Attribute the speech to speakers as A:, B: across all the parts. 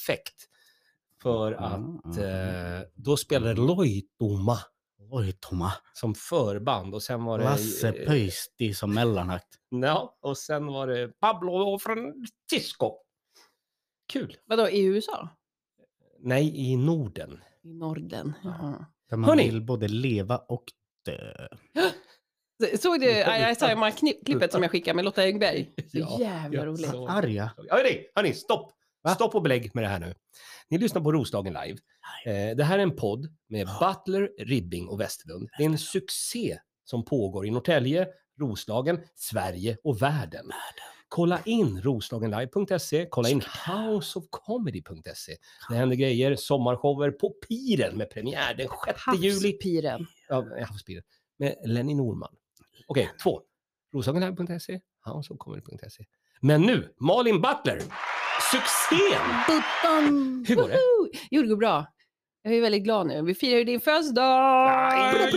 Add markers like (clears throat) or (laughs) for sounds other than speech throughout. A: perfekt. För
B: Mm.
A: att eh, då spelade Loitoma
B: Oj, Tomma.
A: som förband och sen var det... eh,
B: Lasse
C: eh,
B: Pöysti som mellanakt.
A: Ja, och sen var det Pablo Francisco. Kul.
C: Vadå, i USA?
A: Nej, i Norden.
C: I Norden. jaha.
B: Där man
A: Hörni.
B: vill både leva och dö.
C: Såg du I, I saw my kni- klippet som jag skickade med Lotta (laughs) Engberg? Så
A: Ja,
C: jävla
A: ja,
C: roligt.
A: så.
B: Arga.
A: Hörni, hörni stopp!
B: Va?
A: Stopp och belägg med det här nu. Ni lyssnar på Roslagen live. Eh, det här är en podd med Butler, Ribbing och Westerlund. Det är en succé som pågår i Norrtälje, Roslagen, Sverige och världen. Kolla in roslagenlive.se, kolla in houseofcomedy.se. Det händer grejer, sommarshower på Piren med premiär den 6 juli.
C: Havspiren.
A: Ja, jag har spirit. Med Lenny Norman. Okej, två. Roslagenlive.se, houseofcomedy.se. E. Men nu, Malin Butler! Succén!
C: Button!
A: Hur går det?
C: Woho! Jo, det går bra. Jag är väldigt glad nu. Vi firar ju din födelsedag!
A: Nej,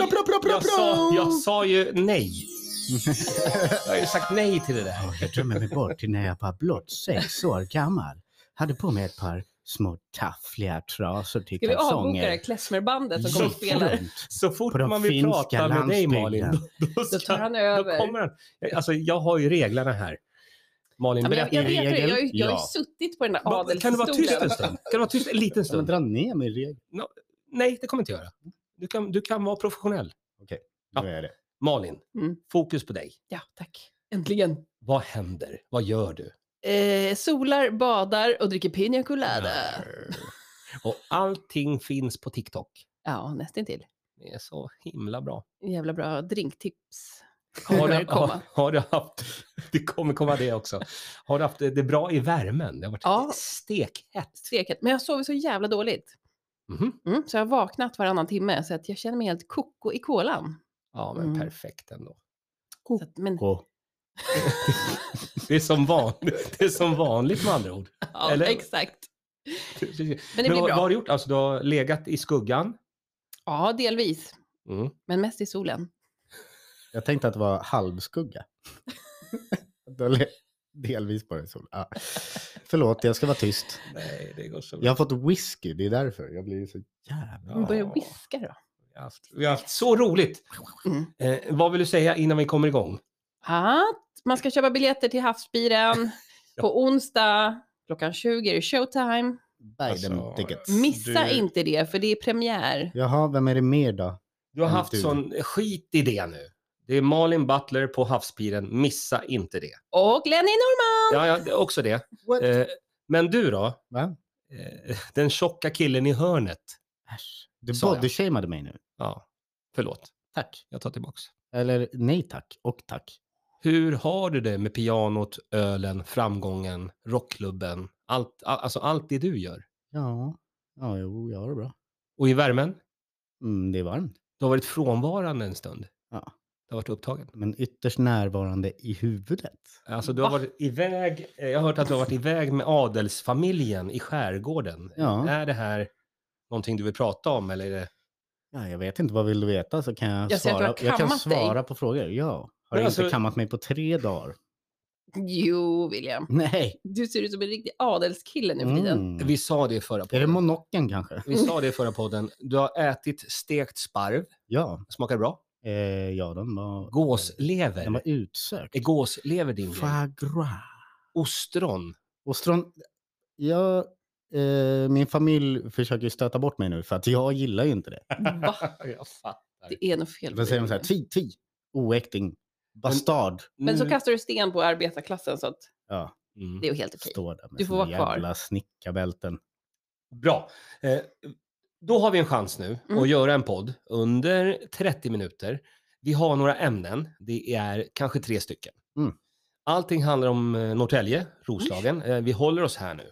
A: Jag sa, jag sa ju nej. Jag har ju sagt nej till det där.
B: Ja, Jag drömmer mig bort till när jag var blott sex år gammal. Hade på mig ett par små taffliga trasor till
C: Ska vi avboka det här
B: kalsonger.
C: klezmerbandet som kommer
A: Ja.
C: och spelar? (laughs)
B: Runt.
A: Så fort
B: På den
A: man vill
B: finska
A: prata med dig
B: landsbygden.
A: Malin, då, då, ska,
C: Då tar han
A: då
C: över.
A: kommer han. Alltså, jag har ju reglerna här. Malin,
C: Ja, men jag,
A: berätta.
C: jag vet det, jag, har ju- jag har ju
B: Ja.
C: suttit på den där
A: Vad- Kan du vara tyst en
C: adelsstolen.
A: stund? Kan du vara tyst en liten
B: Ja, men
A: stund?
B: dra ner min regel.
A: Nej, det kommer jag inte göra. Du kan, du kan vara professionell. Ja.
B: Då är det.
A: Malin,
C: Mm.
A: fokus på dig.
C: Ja, tack. Äntligen.
A: Vad händer? Vad gör du?
C: Eh, solar, badar och dricker pina colada.
A: Och allting finns på TikTok.
C: Ja, nästintill.
A: Det är så himla bra.
C: Jävla bra drinktips.
A: Har du,
C: Kommer komma.
A: (laughs) har du haft, det kommer komma det också. Har du haft det, det är bra i värmen? Det har varit
C: Ja.
A: stekhett.
C: Tveket. Men jag sover så jävla dåligt.
A: Mhm.
C: Mm, så jag har vaknat varannan timme så att jag känner mig helt koko i kolan.
A: Ja, men
C: Mm.
A: perfekt ändå.
C: Så att, men,
B: Och
A: Det är, som vanligt, (laughs) det är som vanligt med andra ord.
C: (laughs) ja,
A: eller-
C: exakt.
A: Precis.
C: Men det
A: Men
C: blir
A: vad, vad
C: bra.
A: har du gjort? Alltså, du har legat i skuggan.
C: Ja, delvis.
A: Mm.
C: Men mest i solen.
B: jag tänkte att det var halvskugga. Då le- Delvis bara sol. Ja. Förlåt, jag ska vara tyst.
A: Nej, det går så
B: Jag har fått whisky, det är därför. Jag blir så jävla...
C: Men Börja viska då.
A: Vi har haft, vi har haft så roligt.
C: Mm.
A: Eh, vad vill du säga innan vi kommer igång?
C: Att man ska köpa biljetter till Havsbiren på onsdag. Klockan 20 är det showtime.
B: Biden
A: Alltså,
B: tickets.
C: Missa
A: Du-
C: inte det, för det är premiär.
B: Jaha, vem är det mer då?
A: Du har
B: Men
A: haft
B: du-
A: sån skit i det nu. Det är Malin Butler på havspiren. Missa inte det.
C: Och Lenny
A: Ja,
C: Norman!
A: ja det är också det.
B: What?
A: Eh, men du då?
B: Va?
A: Eh, den tjocka killen i hörnet.
B: Äsch. Du
A: Sa jag.
B: bodyshameade mig nu.
A: Ja, förlåt.
B: Tack.
A: Jag tar tillbaks.
B: Eller nej tack och tack.
A: Hur har du det med pianot, ölen, framgången, rockklubben? Allt, all, alltså allt det du gör.
B: Ja, ja jo, jag har det bra.
A: Och i värmen?
B: Mm, det är varmt.
A: Du har varit frånvarande en stund.
B: Ja.
A: Du har varit upptagen.
B: Men ytterst närvarande i huvudet.
A: Alltså du har
C: Va?
A: varit iväg, eh, jag har hört att du har varit iväg med adelsfamiljen i skärgården.
B: Ja.
A: Är det här någonting du vill prata om eller är det...
B: Ja, jag vet inte, vad vill du veta? Så kan jag,
C: Jag ser att du
B: svara.
C: har
B: jag kan
C: kammat
B: svara på frågor. Ja. Har
A: Men
B: du
A: alltså-
B: inte kammat mig på tre dagar?
C: Jo, William.
B: Nej.
C: Du ser ut som en riktig adelskille nu för tiden.
B: Mm.
A: Vi sa det i förra
B: Är det
A: podden.
B: monocken kanske?
A: Vi sa det i förra podden. Du har ätit stekt sparv,
B: Ja,
A: smakar bra.
B: eh, ja den var... Den var
A: Gåslever.
B: utsökt.
A: Är gåslever din grej?
B: Foie gras.
A: Ostron.
B: Ostron, jag, eh, min familj försöker ju stöta bort mig nu för att jag gillar ju inte det.
C: Va?
A: (laughs) Jag fattar.
C: Det är nog fel.
B: Då
C: på
B: säger de
C: dig.
B: så här, ti, ti, oäkting, bastard.
C: Men så
A: Nu-
C: kastar du sten på arbetarklassen så att
B: Ja,
A: Mm.
C: det är ju helt okej.
B: står där med
C: Du får
B: sina
C: vara kvar.
B: jävla snickarbälten.
A: Bra. Eh, då har vi en chans nu
C: Mm.
A: att göra en podd under 30 minuter. Vi har några ämnen. Det är kanske tre stycken.
B: Mm.
A: Allting handlar om eh, Norrtälje, Roslagen. Eh, vi håller oss här nu.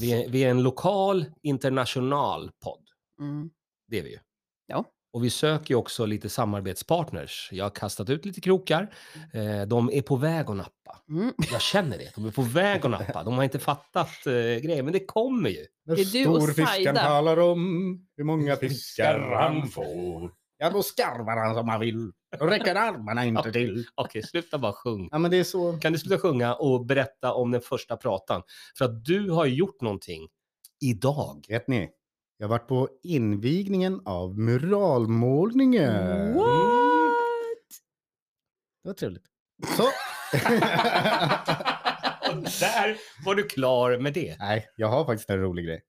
A: Vi är, vi är en lokal, international podd.
C: Mm.
A: Det är vi ju.
C: Ja.
A: Och vi söker ju också lite samarbetspartners. Jag har kastat ut lite krokar. Eh, de är på väg att nappa.
C: Mm.
A: Jag känner det. De är på väg att nappa. De har inte fattat eh, grejen, men det kommer ju.
B: När
C: Det är du och
B: storfiskaren
C: Saida.
B: talar om hur många fiskar han får. Ja, då skarvar han som han vill. Då räcker armarna inte till.
A: Okej, sluta bara sjung.
B: Ja, men det är så.
A: Kan du sluta sjunga och berätta om den första pratan? För att du har ju gjort någonting
C: (laughs)
A: idag.
B: Vet ni? Jag har varit på invigningen av muralmålningen.
C: What?
B: Det var trevligt. Så. (laughs)
A: Och där var du klar med det.
B: Nej, jag har faktiskt en rolig grej.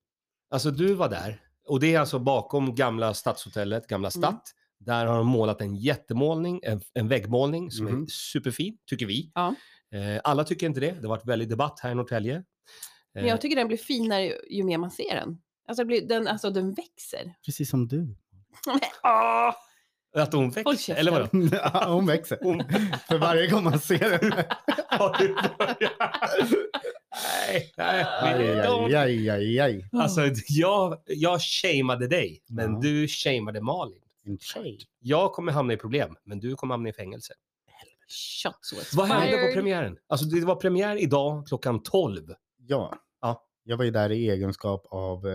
A: Alltså du var där och det är alltså bakom gamla stadshotellet, gamla
C: Mm.
A: Stadt. Där har de målat en jättemålning, en, en väggmålning som är
B: Mhm.
A: superfin, tycker vi.
C: Mm. Ja.
A: Eh, alla tycker inte det. Det har varit väldigt debatt här i Norrtälje. Eh,
C: Men jag tycker den blir finare ju, ju mer man ser den. Alltså, det blir, den, alltså den växer.
B: Precis som du.
C: Åh!
A: Eh, att hon
C: Håll
A: växer,
C: käften.
A: eller vadå?
B: (laughs)
A: (laughs)
B: Ja, Hon växer.
A: Hon
B: För varje gång man ser henne.
A: har ju börjat. Nej, nej.
B: Aj,
A: vi- de-
B: aj, aj, aj, aj.
A: Alltså, (laughs) jag, jag shameade dig, men
B: Ja.
A: du shameade Malin.
B: En tjej.
A: Jag kommer hamna i problem, men du kommer hamna i fängelse.
C: Shots was
A: Vad hände på
C: fired.
A: premiären? Alltså, det var premiär idag klockan 12.
B: Ja.
A: Ja.
B: Jag var ju där i egenskap av... Eh...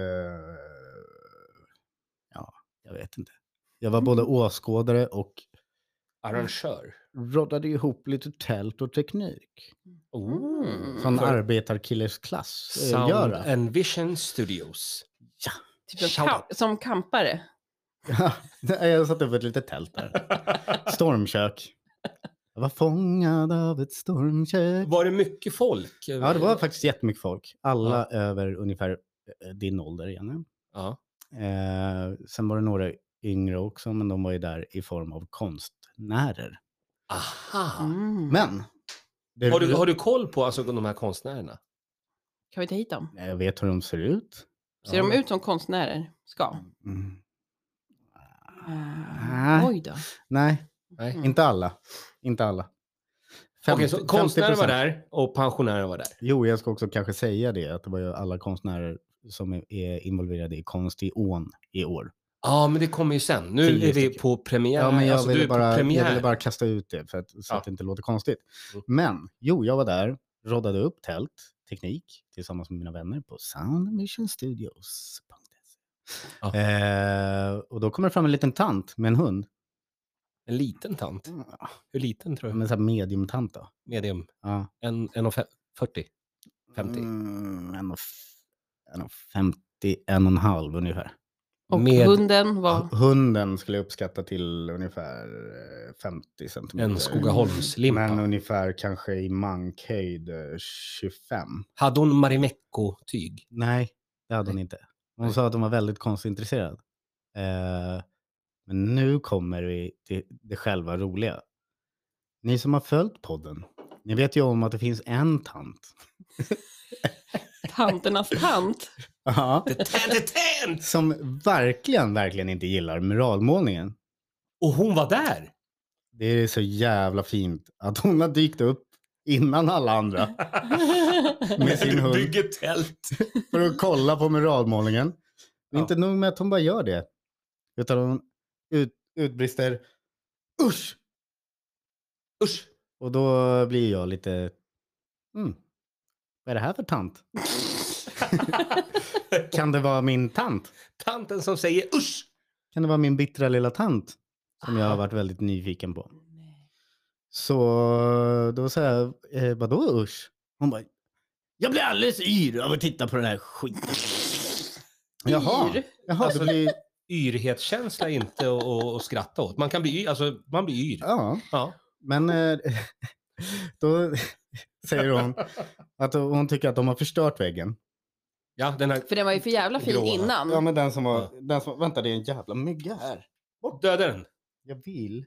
B: Ja, jag vet inte. Jag var både åskådare och
A: Arrangör.
B: roddade ihop lite tält och teknik.
A: Oh.
C: Mm.
B: Sån
A: För-
B: arbetarkillersklass Ah. eh,
A: Sound
B: göra.
A: and Vision Studios.
C: Typ som,
A: Shout
C: kam- som kampare.
B: (laughs) Ja, jag satte upp ett litet
A: (laughs)
B: tält där. Stormkök. Jag var fångad av ett stormkök.
A: Var det mycket folk?
B: Ja, det var faktiskt jättemycket folk. Alla över ungefär eh, din ålder, Jenny.
A: Ja.
B: Eh, sen var det några yngre också, men de var ju där i form av konstnärer.
A: Aha.
C: Mm.
B: Men! det-
A: Har, du, har du koll på alltså, de här konstnärerna?
C: Kan vi ta hit dem?
B: Jag vet hur de ser ut.
C: Ser de ut som konstnärer ska?
B: Mm.
C: Ah, Oj då.
B: Nej,
A: Nej.
C: Mm.
B: inte alla. Inte alla.
A: Okej,
B: 50
A: så konstnärer var
B: 50%.
A: där och pensionärer var där.
B: Jo, jag ska också kanske säga det, att det var ju alla konstnärer som är- är involverade i konst i ån i år.
A: Ja, men det kommer ju sen. Nu
B: Tio
A: är vi
B: stycken.
A: på premiär.
B: Ja, men jag,
A: alltså, du
B: ville
A: är på
B: bara, jag
A: premiär.
B: ville bara kasta ut det för att, så
A: Ja.
B: att det inte låter konstigt.
A: Mm.
B: Men jo, jag var där, roddade upp tält, teknik, tillsammans med mina vänner på soundmissionstudios.se.
A: Ja.
B: Eh, och då kommer det fram en liten tant med en hund.
A: En liten tant. Hur liten tror du?
B: Men så här mediumtant då.
A: Medium.
B: Ja.
A: En, en och fem, 40. 50.
B: Mm, en och f- en och 50, en och en halv ungefär.
C: Och
A: Med
C: hunden var...
B: Hunden skulle jag uppskatta till ungefär eh, 50 centimeter.
A: en Skogaholmslimpa.
B: Men eh, ungefär kanske i mankhöjd eh, 25.
A: Hade hon Marimekko-tyg?
B: Nej, det hade hon inte. Hon sa att hon var väldigt konstintresserad. Eh, men nu kommer vi till det själva roliga. Ni som har följt podden, ni vet ju om att det finns en tant.
C: Tanternas tant.
B: Ja.
A: Tän-tän-tän!
B: Som verkligen, verkligen inte gillar muralmålningen.
A: Och hon var där!
B: Det är så jävla fint att hon har dykt upp innan alla andra. Med sin hund.
A: Bygger tält.
B: för att kolla på muralmålningen. Men
A: Ja.
B: Inte nog med att hon bara gör det, utan hon ut, utbrister usch!
A: Usch!
B: Och då blir jag lite, mm, vad är det här för tant? Kan det vara min tant?
A: Tanten som säger usch!
B: Kan det vara min bittra lilla tant? Som jag har varit väldigt nyfiken på. Så då sa jag, eh, vadå usch? Hon bara, jag blir alldeles yr av att titta på den här skiten. Jaha, Ah.
C: Yr?
B: jaha
A: Alltså-
B: det blir,
A: Yrhetskänsla är inte att- att att skratta åt. Man kan bli yr. Alltså, man blir yr.
B: ja.
A: Ja.
B: Men eh, (laughs) då (laughs) säger hon att hon tycker att de har förstört väggen.
A: ja, den här...
C: För den var ju för jävla fin
A: Gråa.
C: innan.
B: Ja, men den som var...
A: Ja.
B: Den som, vänta, det är en jävla mygga här.
A: Döda
B: (laughs)
A: den.
B: Jag vill.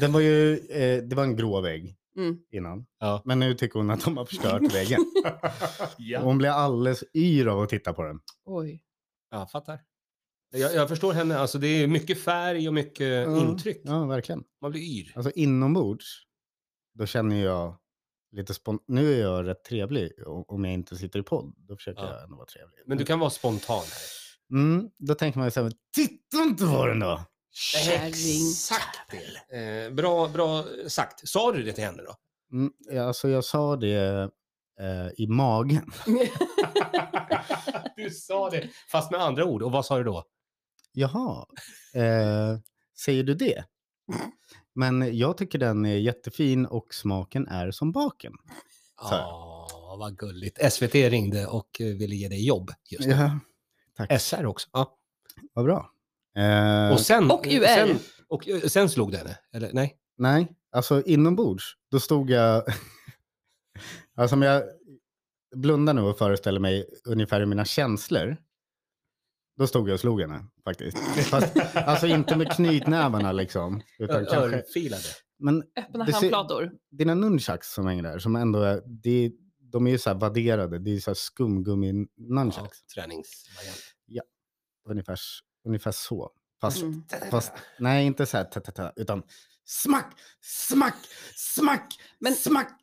B: Den var ju... Eh, det var en grå vägg
C: Mm.
B: innan.
A: Ja.
B: Men nu tycker hon att de har (laughs) förstört väggen.
A: Ja.
B: Hon blir alldeles yr av att titta på den.
C: Oj.
A: Jag fattar. Jag, jag förstår henne. Alltså, det är mycket färg och mycket
B: Ja,
A: intryck.
B: Ja, verkligen.
A: Man blir yr.
B: Alltså inombords, då känner jag lite spont... Nu är jag rätt trevlig o- om jag inte sitter i podd. Då försöker
A: Ja.
B: jag ändå vara trevlig.
A: Men du kan vara spontan. Här.
B: Mm, då tänker man ju så här, titta inte på den då!
C: Kärring.
A: Exakt det. Eh, bra, bra sagt. Sa du det till henne då?
B: Mm, ja, alltså jag sa det eh, i magen.
A: (laughs)
B: (laughs)
A: du sa det. Fast med andra ord. Och vad sa du då?
B: Jaha, eh, säger du det? Men jag tycker den är jättefin och smaken är som baken. Så här.
A: Ah. Ja, vad gulligt. SVT ringde och eh, ville ge dig jobb just nu.
B: Ja,
A: SR också. Ja.
B: vad bra. Eh,
A: Och sen...
C: Och UR.
A: Sen, och eh, sen slog du henne? Eller (laughs) nej?
B: Nej, alltså inombords, då stod jag... (laughs) alltså om jag blundar nu och föreställer mig ungefär hur mina känslor, då stod jag och slog henne faktiskt. Fast, alltså inte med knytnävarna liksom. Utan kanske,
A: Örfilade.
B: men
C: Öppna
B: Det ser-
C: handflator.
B: dina nunchucks som hänger där, som ändå är, det, de är ju så här vadderade, det är ju så här skumgummi-nunchucks.
A: Ja, träningsvariant.
B: Ungefär, ungefär så. Fast,
C: Mm.
B: fast nej, inte så här ta-ta-ta, utan smack, smack, smack,
C: Men-
B: smack.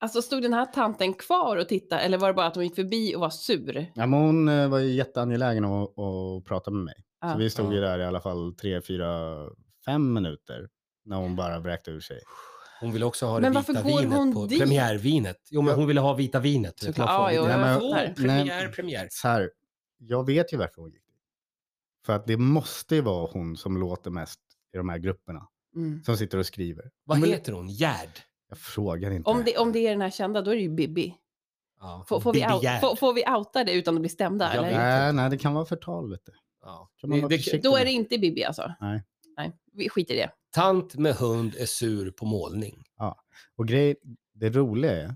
C: Alltså stod den här tanten kvar och tittade eller var det bara att hon gick förbi och var sur?
B: Ja, men hon eh, var ju jätteangelägen att, att prata med mig.
C: Ja.
B: Så vi stod ju
A: Ja.
B: där i alla fall tre, fyra, fem minuter när hon bara vräkte ur sig.
A: Hon ville också ha det
C: Men
A: vita
C: varför går
A: vinet
C: hon
A: på
C: dit?
A: premiärvinet. Jo, men
B: Ja.
A: hon ville ha vita vinet. vet du,
C: Såklart.
A: man får
C: Ja, jo,
A: vita-
B: jag
A: Nej, men-
C: fattar.
A: Åh, Premiär,
B: Nej.
A: premiär.
B: Så här, jag vet ju varför hon gick dit. För att det måste ju vara hon som låter mest i de här grupperna.
C: Mm.
B: Som sitter och skriver.
A: Vad
B: Men-
A: heter hon? Gerd?
B: Jag frågar inte.
C: Om det, om det är den här kända, då är det ju Bibi.
A: Ja.
C: Får, får, vi,
A: Bibi
C: out,
A: Gerd.
C: får, får vi outa det utan att bli stämda?
A: Jag
C: Eller?
A: vet.
B: Nej, nej, det kan vara förtal. Vet du.
A: Ja.
B: Kan man
A: Det-
B: vara
A: det-
B: försiktig?
C: Då är det inte Bibi alltså?
B: Nej.
C: Nej, vi skiter i det.
A: Tant med hund är sur på målning.
B: Och grej, det roliga är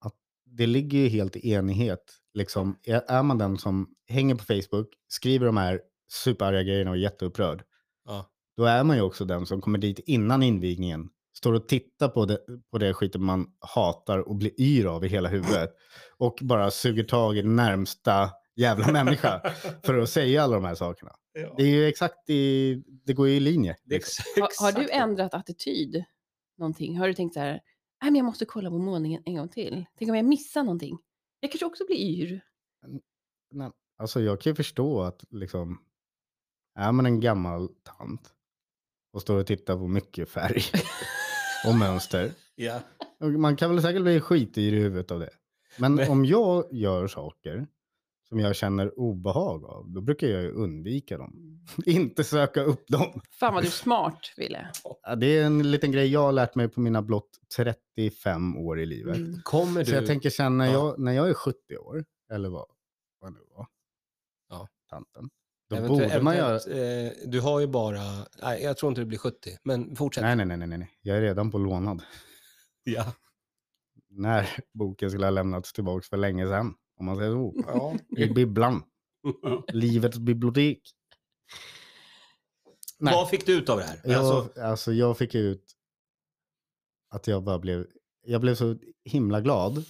B: att det ligger ju helt i enighet. Liksom, är är man den som hänger på Facebook, skriver de här superarga grejerna och är jätteupprörd,
A: Ja.
B: då är man ju också den som kommer dit innan invigningen, står och tittar på det, på det skiten man hatar och blir yr av i hela huvudet och bara suger tag i närmsta
A: (laughs)
B: jävla människa för att säga alla de här sakerna. Det är ju exakt i, det går ju i linje.
A: Det är
B: liksom.
A: ex-
C: Har, har
A: exakt
C: du
A: det.
C: ändrat attityd någonting? Har du tänkt så här, Nej, men jag måste kolla på målningen en gång till. Tänk om jag missar någonting. Jag kanske också blir yr.
B: Nej, alltså jag kan ju förstå att liksom, är man en gammal tant och står och tittar på mycket färg och mönster,
A: Ja.
B: och man kan väl säkert bli skityr i huvudet av det. Men
A: Men-
B: om jag gör saker som jag känner obehag av, då brukar jag ju undvika dem. (laughs) Inte söka upp dem.
C: Fan vad du är smart, Ville.
B: Ja, Det är en liten grej jag har lärt mig på mina blott 35 år i livet.
C: Mm.
A: Kommer
B: Så jag
A: du...
B: tänker sen när
A: Ja.
B: jag, när jag är 70 år, eller vad, vad nu var,
A: Ja.
B: tanten, då
A: eventu-
B: borde man göra...
A: eventuellt, eh, du har ju bara... Nej, jag tror inte du blir 70, men fortsätt.
B: Nej, nej, nej, nej, nej, nej. jag är redan på lånad. (laughs)
A: Ja.
B: När boken skulle ha lämnats tillbaka för länge sedan, om man säger så.
A: (laughs) Ja.
B: I bibblan, livets bibliotek. Nej.
A: Vad fick du ut av det här?
B: Jag,
A: Alltså,
B: alltså... jag fick ut att jag bara blev, jag blev så himla glad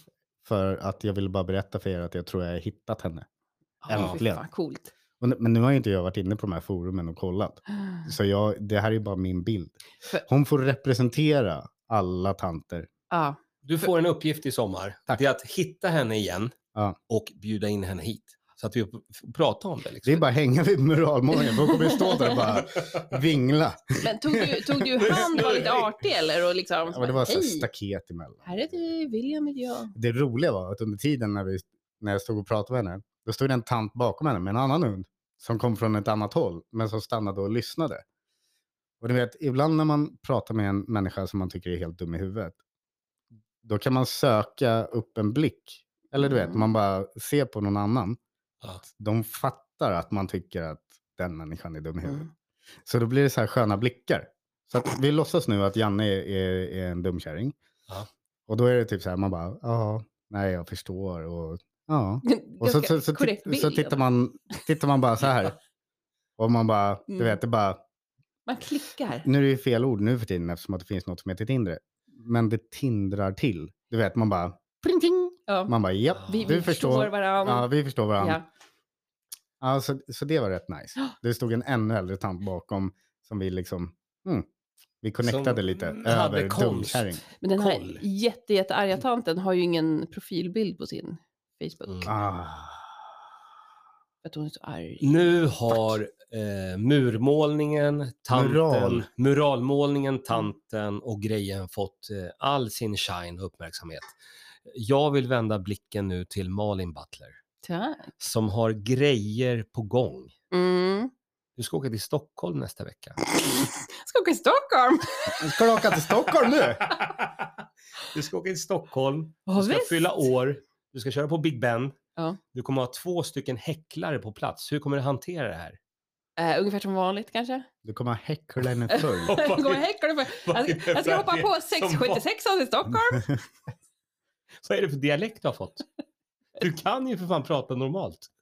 B: för att jag ville bara berätta för er att jag tror jag har hittat henne.
C: Ja, fy
B: Äntligen.
C: fan, coolt.
B: Och nu- Men nu har ju inte jag varit inne på de här forumen och kollat. Så jag, det här är ju bara min bild.
C: För-
B: Hon får representera alla tanter.
C: Ja,
A: du får en uppgift i sommar.
B: Tack.
A: Det är att hitta henne igen
B: Ja.
A: och bjuda in henne hit. Så att vi får prata om det.
B: Det
A: Liksom.
B: är bara att hänga vid muralmålningen. Hon kommer ju stå där och bara vingla.
C: Men tog du, tog du hand och var lite artig eller? Och liksom,
B: Ja, men det var så här
C: "Hej,
B: staket emellan.
C: här är du, William heter jag.
B: Det roliga var att under tiden när, vi, när jag stod och pratade med henne, då stod det en tant bakom henne med en annan hund som kom från ett annat håll, men som stannade och lyssnade. Och du vet, ibland när man pratar med en människa som man tycker är helt dum i huvudet, då kan man söka upp en blick. Eller du vet,
C: Mm.
B: man bara ser på någon annan.
A: Ja.
B: De fattar att man tycker att den människan är dum i huvudet.
C: Mm.
B: Så då blir det så här sköna blickar. Så att vi låtsas nu att Janne är, är, är en dumkärring.
A: Ja.
B: Och då är det typ så här, man bara, ja, nej jag förstår. Och, ja. och så,
C: Ganska
B: så, så,
C: korrekt
B: så, så
C: bild. alltså.
B: tittar, man, tittar man bara så
C: (laughs)
B: här. Och man bara, du
C: Mm.
B: vet, det bara,
C: Man klickar.
B: nu är det ju fel ord nu för tiden eftersom att det finns något som heter Tinder. Men det tindrar till. Du vet, man bara, pling, pling.
C: Ja.
B: Man bara, japp,
A: Vi-
C: Vi,
A: du
C: vi förstår
B: Ja,
C: varandra.
B: vi förstår
C: Ja,
B: varandra. Ja, så, så det var rätt nice.
A: (gasps)
B: Det stod en ännu äldre tant bakom som vi liksom, mm, vi connectade
A: Som mm,
B: lite
A: hade
B: över
A: konst.
B: dumkärring.
C: Men den
A: Koll.
C: här jätte, jättearga tanten har ju ingen profilbild på sin Facebook.
A: Mm.
B: Ah,
C: För att hon är så arg.
A: Nu har eh, murmålningen, tanten,
B: Mural.
A: muralmålningen, tanten och grejen fått eh, all sin shine och uppmärksamhet. Jag vill vända blicken nu till Malin Butler
C: Tack.
A: som har grejer på gång.
C: Mm.
A: Du ska åka till Stockholm nästa vecka.
C: Ska åka till Stockholm!
B: Ska du åka till Stockholm nu?
A: (laughs) du ska åka till Stockholm,
C: Ja,
A: du ska
C: visst.
A: fylla år, du ska köra på Big Ben.
C: Ja.
A: Du kommer ha två stycken häcklare på plats. Hur kommer du hantera det här?
C: Eh, ungefär som
B: (laughs)
C: vanligt kanske.
B: Du kommer häckla henne
A: (laughs)
B: full.
A: Vad är-
C: (laughs) Gå och häckla dig för-
A: vad
C: Jag
A: är
C: ska-
A: det
C: Alltså, jag ska
A: för-
C: hoppa på
A: som
C: 676 till Stockholm.
A: Vad är det för dialekt du har fått? (laughs) Du kan ju för fan prata normalt. (laughs)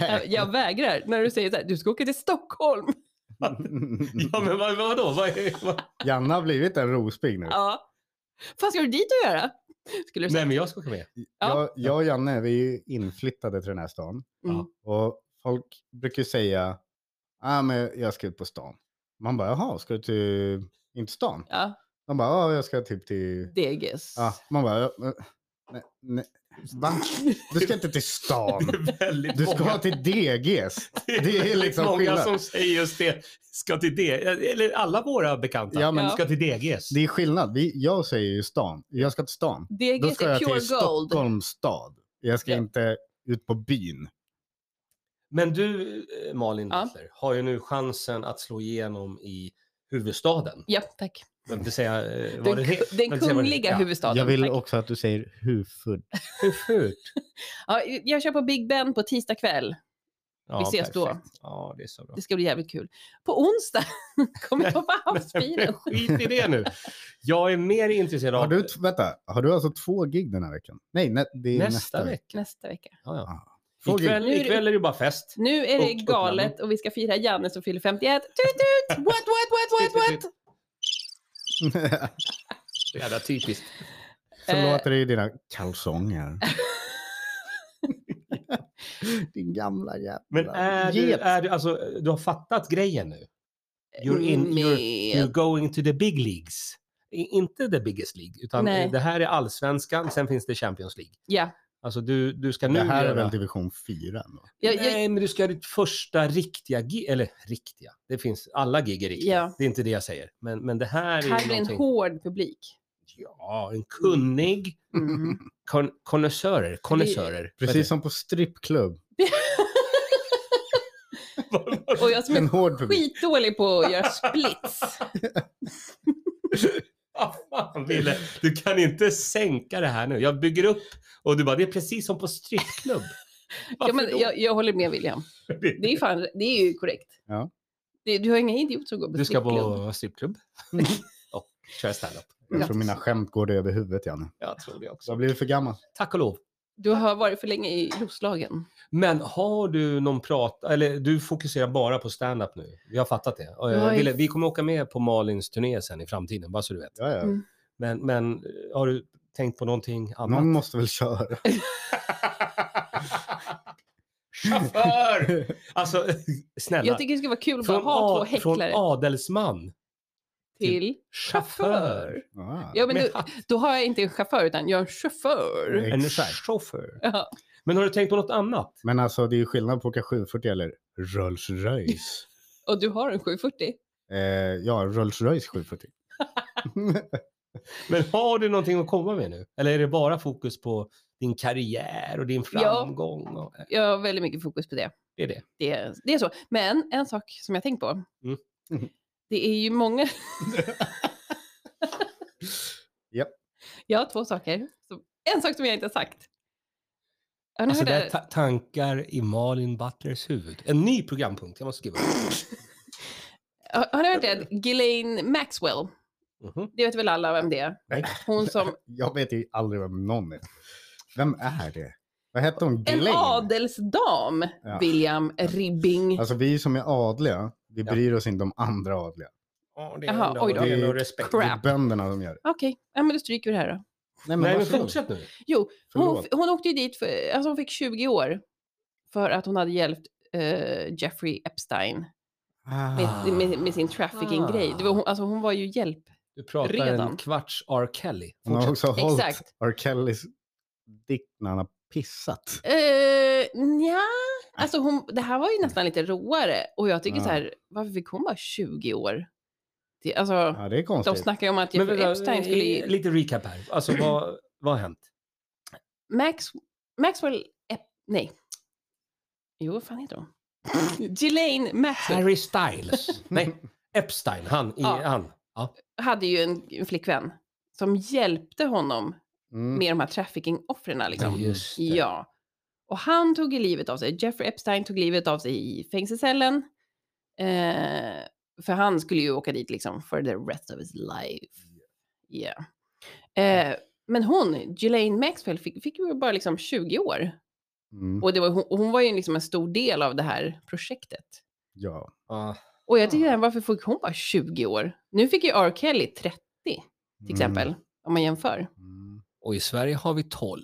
C: Eh, Jag vägrar när du säger så här, du ska åka till Stockholm.
A: Ja, men vad, vadå? Vad är, vad?
B: (laughs) Janne har blivit en rospigg nu.
C: Ja. Vad ska du dit och göra? Skulle du säga.
A: Nej, men jag ska åka med.
B: Jag, jag och Janne, vi är ju inflyttade till den här stan.
C: Mm.
B: Och folk brukar ju säga, ah, men jag ska ut på stan. Man bara, jaha, ska du till, inte stan?
C: Ja,
B: De bara, ja, jag ska typ till,
C: Degis.
B: ja, man bara, "Ja, men- nej, nej, va? Du ska inte till stan.
A: Det är väldigt
B: Du ska
A: många,
B: till DGs.
A: det
B: det är
A: väldigt (laughs)
B: liksom
A: många
B: skillnad.
A: som säger just det. Ska till det. Eller alla våra bekanta.
B: Ja, men-
A: ska till DGs.
B: Det är skillnad. Vi, jag säger ju stan. Jag ska till stan. Då
C: Degis
B: ska
C: är
B: jag
C: pure
B: till
C: gold.
B: Stockholms stad. Jag ska
C: Ja.
B: inte ut på byn.
A: Men du, eh, Malin
C: Ja.
A: Butler, har ju nu chansen att slå igenom i huvudstaden.
C: Ja, tack.
A: Jag vill inte säga eh, vad
C: Den,
A: det
C: ku-
A: heter.
C: den
A: Men säg vad det-
C: kungliga
A: ja.
C: huvudstaden.
B: Jag vill
C: tack.
B: också att du säger huvud.
A: Hur fult?
C: Ja, jag kör på Big Ben på tisdag kväll.
A: Ja,
C: Vi ses då.
A: perfekt. Ja, det är så bra.
C: Det ska bli jävligt kul. På onsdag (laughs)
A: (laughs)
C: kommer jag på
A: Men
C: havsbilen.
A: (laughs) skit i det nu. Jag är mer intresserad av
B: Har du, t- vänta, har du alltså två gig den här veckan? Nej, nä, det är
A: nästa,
B: nästa, vecka.
A: vecka.
C: Nästa vecka.
A: Ja, ja.
B: Ja. Två gig.
A: Ikväll,
C: Nu är det-
A: ikväll är det bara fest.
C: Nu är det
A: Och
C: galet och vi ska fira Janne som fyller 51. Tut tut!
A: (laughs)
C: What, what, what, what, what?
A: Så jävla typiskt.
B: Så
C: Eh.
B: låter det i dina
A: (laughs)
B: kalsonger. Din gamla jävla
A: Men är du,
B: get.
A: är du, alltså, du har fattat grejen nu? You're, in, you're,
C: Mm, Med-
A: you're going to the big leagues. I- Inte the biggest league, utan
C: Nej.
A: det här är allsvenskan, sen finns det Champions League.
C: Ja.
A: Alltså du, du ska nu
B: Det här är
A: göra-
B: väl division 4? ändå?
C: Jag, jag,
A: Nej, men du ska göra ditt första riktiga gig, eller riktiga, det finns, alla gig är riktiga.
C: Ja.
A: Det är inte det jag säger. Men, men det här är
C: här
A: ju
C: blir en
A: någonting...
C: hård publik.
A: Ja, en kunnig
C: Mm.
A: kon- konnässörer. Konnässörer.
B: Precis som på strippklubb.
C: (laughs) Och jag som
B: En
C: är
B: hård publik.
C: skitdålig på att göra
B: (laughs)
C: splits.
A: (laughs) Ah, fan, Ville, du kan inte sänka det här nu. Jag bygger upp och du bara, det är precis som på strippklubb.
C: (laughs) Ja,
A: Varför
C: men
A: då? (laughs)
C: jag, jag håller med William. Det är, fan, det är ju korrekt.
B: Ja.
C: Det, du har inga idioter som går på
A: Du ska
C: strippklubb. Mm.
A: på strippklubb (laughs) och köra standup.
B: Jag tror mina skämt går dig över huvudet, Janne.
A: Jag tror det
B: Så jag
A: också.
B: har blivit för gammal.
A: Tack och lov.
C: Du har varit för länge i Roslagen.
A: Men har du någon prat, eller du fokuserar bara på standup nu? Vi har fattat det. Och, eh,
C: Jag är-
A: Ville, vi kommer åka med på Malins turné sen i framtiden, bara så du vet.
B: Ja, ja.
C: Mm.
A: Men, men eh, har du tänkt på någonting annat?
B: Någon måste väl köra.
A: Chaufför! (laughs)
C: (laughs)
A: Alltså, snälla.
C: Jag tycker det skulle vara kul att bara
A: Från,
C: ha två
A: a- från
C: häcklare
A: adelsman
C: till
A: chaufför.
C: chaufför.
B: Ja.
C: Ja, men
A: Med
C: du,
A: hatt.
C: då har jag inte en chaufför utan jag är en chaufför.
B: Nej.
A: En
B: Exakt.
A: chaufför.
C: Ja.
A: Men har du tänkt på något annat?
B: Men alltså, det är ju skillnad på att åka 740 eller Rolls
C: (laughs)
B: Royce.
C: Och du har en 740.
B: eh, ja, Rolls Royce 740.
A: Men har du någonting att komma med nu? Eller är det bara fokus på din karriär och din
C: Ja.
A: framgång? Och,
C: Jag har väldigt mycket fokus på det.
A: det är det.
C: Det är, det är så. Men en sak som jag tänkt på.
A: Mm. (laughs)
B: Mhm.
C: Det är ju många...
B: Japp.
C: (laughs) Jag har två saker. Som, en sak som jag inte har sagt. Har ni
A: Alltså,
C: hört
A: det
C: det?
A: är ta- tankar i Malin Butlers huvud. En ny programpunkt, jag måste skriva upp.
C: Har, har ni hört det? Ghislaine Maxwell.
A: Mhm.
C: Det vet väl alla vem det är?
A: Nej. (laughs)
C: Hon som...
B: (laughs) Jag vet ju aldrig vem någon är. Vem är det? Vad hette hon?
C: En
B: Glenn?
C: adelsdam,
B: Ja.
C: William Ribbing.
B: Alltså vi som är adliga, vi
A: Ja.
B: bryr oss inte om andra adliga.
A: Ja, det
C: Jaha,
A: ändå-
C: oj då.
A: det är ändå respekt.
B: Det
C: Crap.
B: är bönderna som gör det.
C: Okej, ja, men då stryker vi det här då.
A: Nej,
B: Nej
A: men
B: varsågod.
A: fortsätt nu.
C: Jo, hon,
B: Förlåt.
C: hon åkte ju dit, för, alltså hon fick 20 år för att hon hade hjälpt eh, Jeffrey Epstein
A: Ah.
C: med, med, med sin trafficking-grej. Det var hon, alltså hon var ju hjälp.
A: Du pratar en
C: Redan.
A: kvarts R. Kelly.
B: Hon har
A: Fortsätt.
B: också hållit
C: Exakt.
B: R. Kellys dick när han har pissat.
C: Uh, nja, alltså hon, det här var ju nästan lite råare och jag tycker
B: Ja.
C: så här, varför fick hon bara 20 år? Det, alltså,
B: Ja, det är
C: de
B: konstigt.
C: snackar ju om att
A: Men
C: Jeffrey
A: vänta,
C: Epstein
A: eh,
C: skulle... ju-
A: Lite recap här. Alltså vad, vad har hänt?
C: Max, Maxwell... Ep, nej. Jo, vad fan heter hon? Ghislaine Maxwell
A: Harry Styles. (laughs) Nej, Epstein. Han. I,
C: Ja.
A: han. Ja.
C: hade ju en, en flickvän som hjälpte honom
B: Mm.
C: med de här trafficking-offren. Liksom.
A: Just det.
C: Ja. Och han tog ju livet av sig. Jeffrey Epstein tog livet av sig i fängelsecellen. Eh, för han skulle ju åka dit liksom for the rest of his life. Yeah. Eh, men hon, Ghislaine Maxwell, fick, fick ju bara liksom 20 år.
B: Mm.
C: Och det var, hon, hon var ju liksom en stor del av det här projektet.
B: Ja.
A: Ja.
C: Och jag tycker, varför fick hon bara 20 år? Nu fick ju R. Kelly 30 till exempel, om man jämför.
B: Mm.
A: Och i Sverige har vi 12.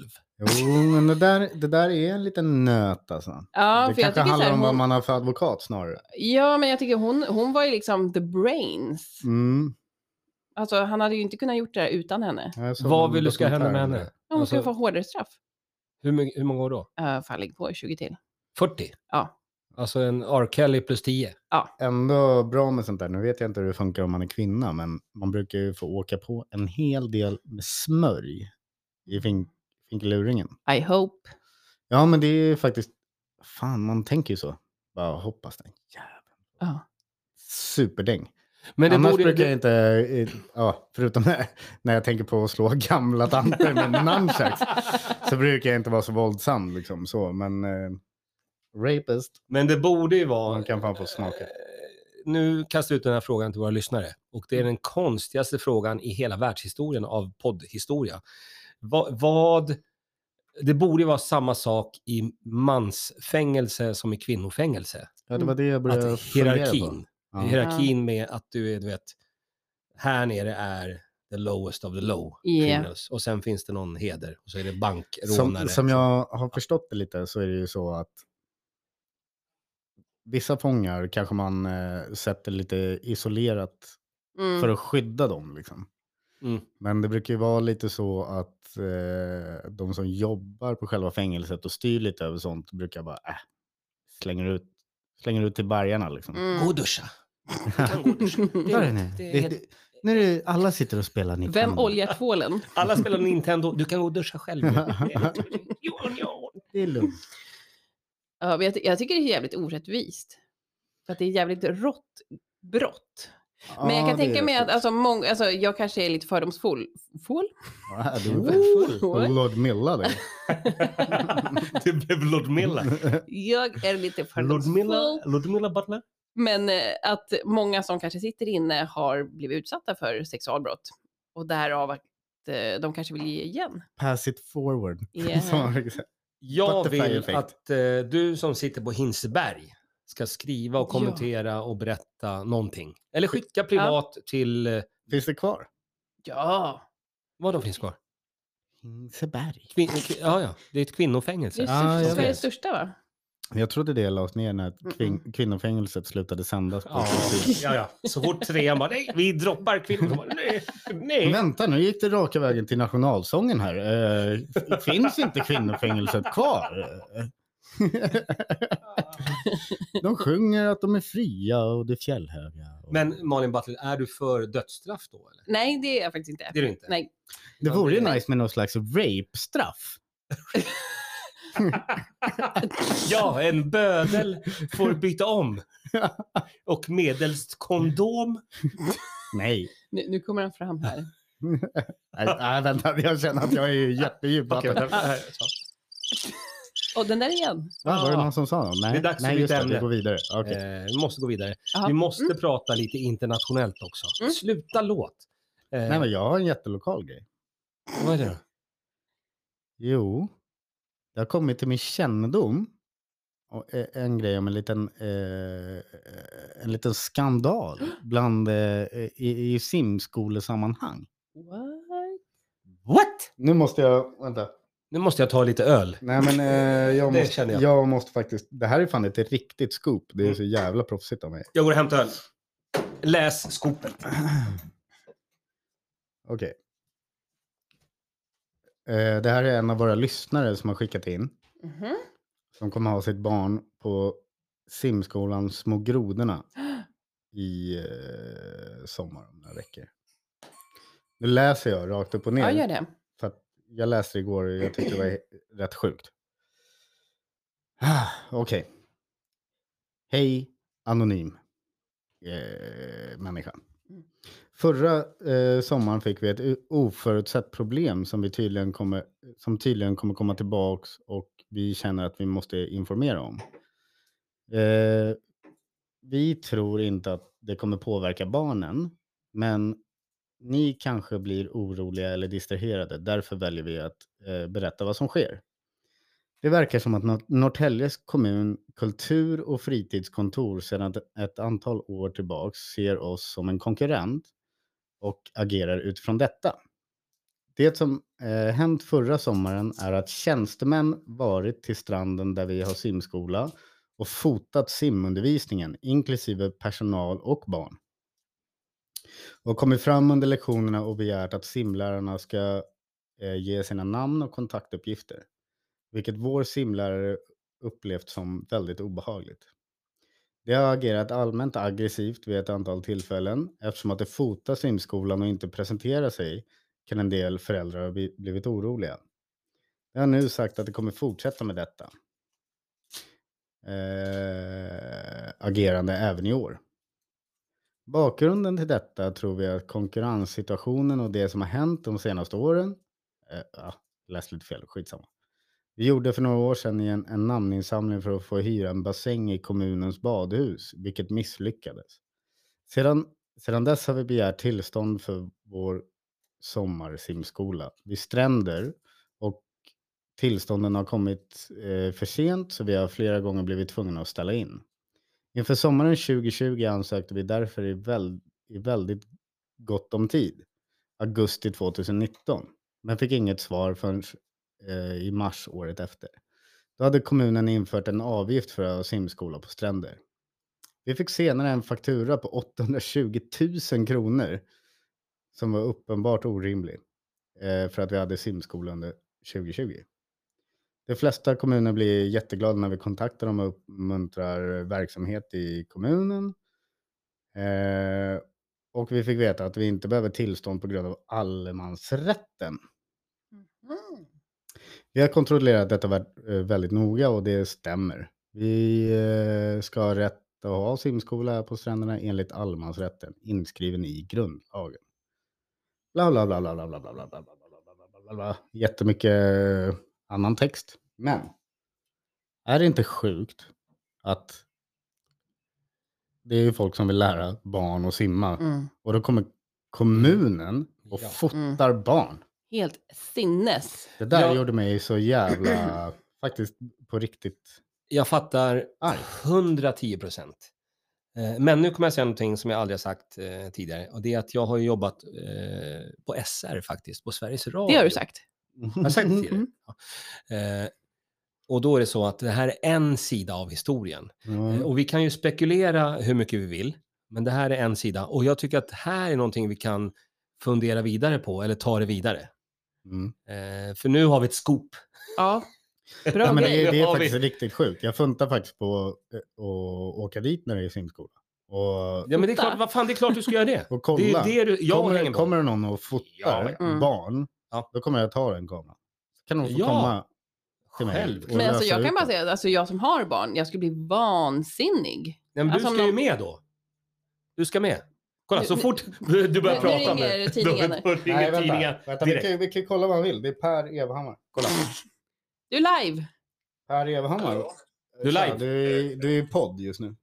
B: Jo, men det där, det där är en liten nöt alltså.
C: Ja,
B: det
C: för jag
B: kanske
C: tycker så
B: handlar
C: här,
B: om vad
C: hon,
B: man har för advokat snarare.
C: Ja, men jag tycker hon, hon var ju liksom the brains.
B: Mm.
C: Alltså, han hade ju inte kunnat gjort det här utan henne.
B: Jag såg
A: Vad
B: en
A: vill du ska hända
B: dokumentär
A: med
B: om
A: henne?
B: det.
C: Ja, Hon skulle
A: Alltså-
C: få hårdare straff.
A: Hur, my- hur många år då?
C: Uh, fan, ligg på 20 till.
A: 40?
C: Ja.
A: Alltså en R. Kelly plus 10.
B: Ändå bra med sånt där. Nu vet jag inte hur det funkar om man är kvinna, men man brukar ju få åka på en hel del med smörj i fin- finkeluringen.
C: I hope.
B: Ja, men det är ju faktiskt... Fan, man tänker ju så. Bara hoppas den jäveln.
C: Ja.
B: Superdäng.
A: Men det
B: Annars
A: borde,
B: brukar jag
A: det,
B: inte, eh, ja, förutom när, när jag tänker på att slå (laughs) gamla tanter med nunchucks, så brukar jag inte vara så våldsam liksom så, men eh, rapist,
A: men det borde ju vara... Eh,
B: man kan fan få smaka.
A: Nu kastar jag ut den här frågan till våra lyssnare. Och det är den konstigaste frågan i hela världshistorien av poddhistoria. Va, vad... Det borde ju vara samma sak i mansfängelse som i kvinnofängelse.
B: Ja, det var det jag började
A: Att
B: fundera på.
A: Alltså, hierarkin,
B: Ja.
A: hierarkin med att du är, du vet, här nere är the lowest of the low.
C: Yeah.
A: criminals. Och sen finns det någon heder och så är det bankrånare.
B: Som, som jag har förstått det lite så är det ju så att vissa fångar kanske man eh, sätter lite isolerat
C: Mm.
B: för att skydda dem. Liksom.
A: Mm.
B: Men det brukar ju vara lite så att eh, de som jobbar på själva fängelset och styr lite över sånt brukar bara äh, slänger ut slänger ut till vargarna liksom.
A: Gå
C: Mm.
A: och duscha. Du kan gå och duscha. Det
B: Ta
A: är
B: det nu.
A: lugnt. Det är
B: Det-
A: helt-
B: det- nu är det, alla sitter och spelar
C: Vem
B: Nintendo.
C: oljar tvålen?
A: Alla spelar Nintendo, du kan gå och duscha själv. nu. Det är- Jo, jo.
B: Det är lugnt.
C: Ja, men jag, ty- jag tycker det är jävligt orättvist. För att det är jävligt rått brott. (laughs) Men jag
B: Ja,
C: kan
B: det är
C: tänka mig att
B: rätt.
C: alltså, många, alltså, jag kanske är lite fördomsfull. Full?
B: Ja, du är väl
C: Full?
B: Lordmilla dig.
A: Det blev Ludmilla.
C: Jag är lite
A: Ludmilla,
C: fördomsfull.
A: Ludmilla Butler?
C: Men eh, att många som kanske sitter inne har blivit utsatta för sexualbrott. Och därav att eh, de kanske vill ge igen.
B: (laughs) Pass it forward.
C: Yeah.
B: (laughs) Som man brukar säga.
A: Jag
B: Butterfly
A: vill
B: effect.
A: att eh, du som sitter på Hinseberg ska skriva och
C: Ja.
A: kommentera och berätta någonting. Eller skicka privat till... eh,
B: Finns det kvar?
C: Ja,
A: Vad de finns kvar?
B: Hinseberg.
A: Kvin- kvin- ja, ja. Det är ett
C: det är
A: kvinnofängelse.
B: Ja, jag
C: Sveriges
A: vet.
C: största va?
B: Jag trodde det lades ner när kvin- kvinnofängelset slutade sändas. På
A: Ja, ja, ja. Så fort trean bara, nej, vi droppar kvinnor. De bara, Nej, nej.
B: Vänta, nu gick det raka vägen till nationalsången här. Eh, finns inte kvinnofängelset kvar? de sjunger att de är fria och det är fjällhöga. Och...
A: Men Malin Butler, är du för dödsstraff då? Eller?
C: Nej, det är jag faktiskt inte.
A: Det är du inte?
C: Nej.
B: det vore ju nice med någon slags rape-straff.
A: Ja, en bödel får byta (laughs) om. Och medelst kondom.
B: Nej. (laughs)
C: Nu, nu kommer han fram
A: (laughs)
C: här.
B: Nej, nej, vänta, jag känner att jag är ju jättedjup.
A: Okej,
B: vatten.
A: vänta, Eh, här.
C: Och den där igen.
B: Va, var det någon som sa något? Nej,
A: Det är dags för
B: nej
A: ditt
B: just det, vi
A: ämne.
B: går vidare. Okej.
A: Eh, vi måste gå vidare.
C: Jaha.
A: Vi måste prata lite internationellt också.
C: Mm.
A: Sluta låt. Eh,
B: Nej, men jag har en jättelokal grej.
A: Vad är det då?
B: Jo, det har kommit till min kännedom och eh, en grej om en liten, eh, en
A: (gasps)
B: liten skandal bland, eh, i, i simskolesammanhang.
C: Mm. What?
A: What?
B: Nu måste jag, vänta.
A: Nu måste jag ta lite öl.
B: Nej
A: (laughs)
B: men eh, jag,
A: Det
B: måste,
A: känner
B: jag.
A: jag. Mm.
B: måste faktiskt, det här är fan ett riktigt scoop. Det är så jävla proffsigt av mig.
A: Jag går och hämtar öl. Läs skopet.
B: (clears throat) Okej. Eh, det här är en av våra lyssnare som har skickat in.
C: Mhm.
B: som kommer ha sitt barn på simskolan Små grodorna i eh, sommar om några veckor. Nu läser jag rakt upp och ner.
C: Ja, gör det.
B: För att jag läste igår och jag (sighs) tyckte det var rätt sjukt. Ah, Okej. Hej, anonym eh, människa.
C: Mm.
B: Förra eh, sommaren fick vi ett o- oförutsett problem som, vi tydligen kommer, som tydligen kommer komma tillbaks och vi känner att vi måste informera om. Eh, vi tror inte att det kommer påverka barnen, men ni kanske blir oroliga eller distraherade. Därför väljer vi att eh, berätta vad som sker. Det verkar som att Nor- Norrtäljes kommun kultur och fritidskontor sedan ett- ett antal år tillbaks ser oss som en konkurrent och agerar utifrån detta. Det som eh, hänt förra sommaren är att tjänstemän varit till stranden där vi har simskola och fotat simundervisningen, inklusive personal och barn. Och kommit fram under lektionerna och begärt att simlärarna ska eh, ge sina namn och kontaktuppgifter. Vilket vår simlärare upplevt som väldigt obehagligt. Det har agerat allmänt aggressivt vid ett antal tillfällen. Eftersom att det fotar simskolan och inte presenterar sig kan en del föräldrar ha bli- blivit oroliga. Det har nu sagt att det kommer fortsätta med detta eh, agerande även i år. Bakgrunden till detta tror vi att konkurrenssituationen och det som har hänt de senaste åren, eh, ja, läst lite fel, skitsamma. Vi gjorde för några år sedan en, en namninsamling för att få hyra en bassäng i kommunens badhus, vilket misslyckades. Sedan, sedan dess har vi begärt tillstånd för vår sommarsimskola vid stränder och tillstånden har kommit eh, för sent så vi har flera gånger blivit tvungna att ställa in. Inför sommaren 2020 ansökte vi därför i, väl, i väldigt gott om tid, augusti 2019, men fick inget svar förrän eh, i mars året efter. Då hade kommunen infört en avgift för att ha simskola på stränder. Vi fick senare en faktura på 820 000 kronor som var uppenbart orimlig eh, för att vi hade simskola under 2020. De flesta kommuner blir jätteglada när vi kontaktar dem och uppmuntrar verksamhet i kommunen. Eh, och vi fick veta att vi inte behöver tillstånd på grund av allemansrätten.
A: Mm-hmm.
C: Mm.
B: Vi har kontrollerat detta vä- eh, väldigt noga och det stämmer. Vi eh, ska ha rätt att ha simskola här på stränderna enligt allemansrätten inskriven i grundlagen. Bla, bla, bla, bla, bla, bla, bla, bla, bla, bla, bla, bla, bla, bla, bla, bla. Jättemycket eh, annan text. Men är det inte sjukt att det är ju folk som vill lära barn att simma
C: Mm.
B: och då kommer kommunen och
A: Ja.
B: fotar barn.
C: Helt sinnes.
B: Det där
A: Ja.
B: gjorde mig
A: (laughs)
B: så jävla, faktiskt på riktigt
A: Jag fattar
B: arg.
A: 110 procent. Men nu kommer jag säga någonting som jag aldrig har sagt eh, tidigare. Och det är att jag har ju jobbat eh, på SR faktiskt, på Sveriges Radio.
C: Det har du sagt.
A: Jag har sagt det tidigare.
C: Mm.
A: Ja. Eh, och då är det så att det här är en sida av historien. Eh,
B: Mm.
A: Och vi kan ju spekulera hur mycket vi vill, men det här är en sida. Och jag tycker att det här är någonting vi kan fundera vidare på, eller ta det vidare.
B: Mm.
A: Eh, för nu har vi ett scoop.
C: Ja. Bra
B: Nej, men
C: grej.
B: det, är- det
A: Nu
B: är
A: har
B: faktiskt riktigt sjukt. Jag funtar faktiskt på eh, att åka dit när det är simskola. Och,
A: Ja, men det är klart, vad fan, det är klart du ska göra det.
B: och
A: Det är ju
B: (laughs) kolla.
A: det du, jag hänger
B: kommer,
A: på.
B: kommer det någon och fotar
A: Ja,
C: ja. Mm.
B: barn,
A: Ja.
B: då kommer jag ta den kameran. Så kan de få
A: Ja.
B: komma. till mig.
A: Självklart.
B: Och
C: Men alltså,
B: lösa
C: jag
B: ut
C: kan bara
B: det.
C: säga att alltså, jag som har barn, jag skulle bli vansinnig.
A: Nej, men
C: Alltså,
A: du
C: om
A: ska ju
C: någon-
A: med då. Du ska med. Kolla,
C: Nu-
A: så
C: nu-
A: fort (laughs) du du börjar
C: nu
A: prata
C: ringer
A: nu,
C: tidningen.
A: då- då ringer tidningen
B: vänta vi,
A: direkt. (laughs)
B: kan, vi kan kolla vad han vill. Det är Per Evhammar. Kolla.
C: Du är live.
B: Per Evhammar.
A: Du är
B: Tja,
A: live.
B: Du är, i- du är i podd just nu.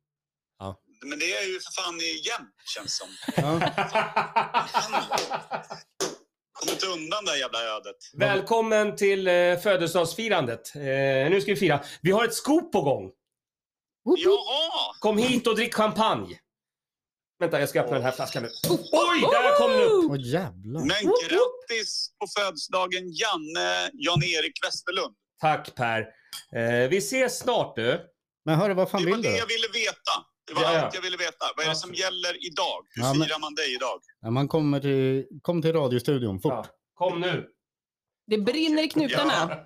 D: Men det är ju för fan igen, känns som.
A: (laughs)
B: Ja.
D: Kom inte undan det här jävla ödet.
A: Välkommen till eh, födelsedagsfirandet. Eh, nu ska vi fira. Vi har ett scoop på gång.
C: Woop, woop.
D: Jaha!
A: Kom hit och drick champagne. Vänta, jag ska öppna den här flaskan nu. Oj, där kom
C: oh!
A: den upp!
B: Åh jävlar.
D: Men grattis på födelsedagen Janne Jan-Erik Westerlund.
A: Tack Per. Eh, vi ses snart du.
B: Men hörru, vad fan
D: Det var
B: vill du?
D: det
B: då?
D: jag ville veta. Det var
A: Ja, ja.
D: allt jag ville veta. Vad är det som
A: Absolut.
D: gäller idag? Hur
B: Ja, men-
D: firar man dig idag?
B: När man kommer till, kom till radiostudion fort.
A: Ja, kom nu.
C: Det brinner i knutarna.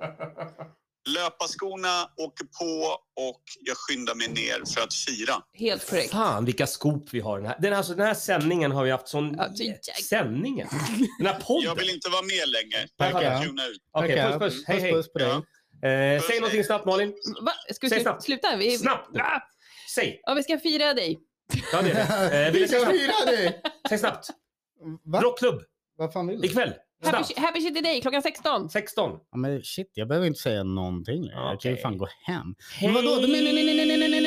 D: Löparskorna åker på och jag skyndar mig ner för att fira.
C: Helt korrekt.
A: Fan vilka scoop vi har. Den här, den, alltså, den här sändningen har vi haft sån...
C: Ja, det är jag-
A: Sändningen? Den här
D: Jag vill
A: podden?
D: inte vara med längre.
A: Tackar.
D: Jag kan tuna ut.
A: Okej, puss
B: Tackar.
A: puss. Hej hej.
B: puss på dig.
A: Eh, säg någonting snabbt Malin.
C: Va? Ska
A: Säg
C: vi sluta?
A: snabbt.
C: sluta? Vi...
A: Snabbt nu.
C: Ah!
A: Säg!
C: Ja, vi ska fira dig.
A: Ja, det är
B: (laughs)
A: det. Eh, vill
B: Vi
A: du säga
B: ska
A: snabbt?
B: fira dig!
A: Säg snabbt!
B: Va?
A: Rockklubb!
B: Vad fan vill du?
A: Ikväll!
C: Happy,
A: Snabbt!
C: happy City Day klockan 16.
A: 16.
B: Ja, men shit, jag behöver inte säga någonting längre. Jag kan ju
A: Okej.
B: fan gå hem.
A: Hej!
B: Vadå? Nej, nej, nej, nej, nej, nej, nej,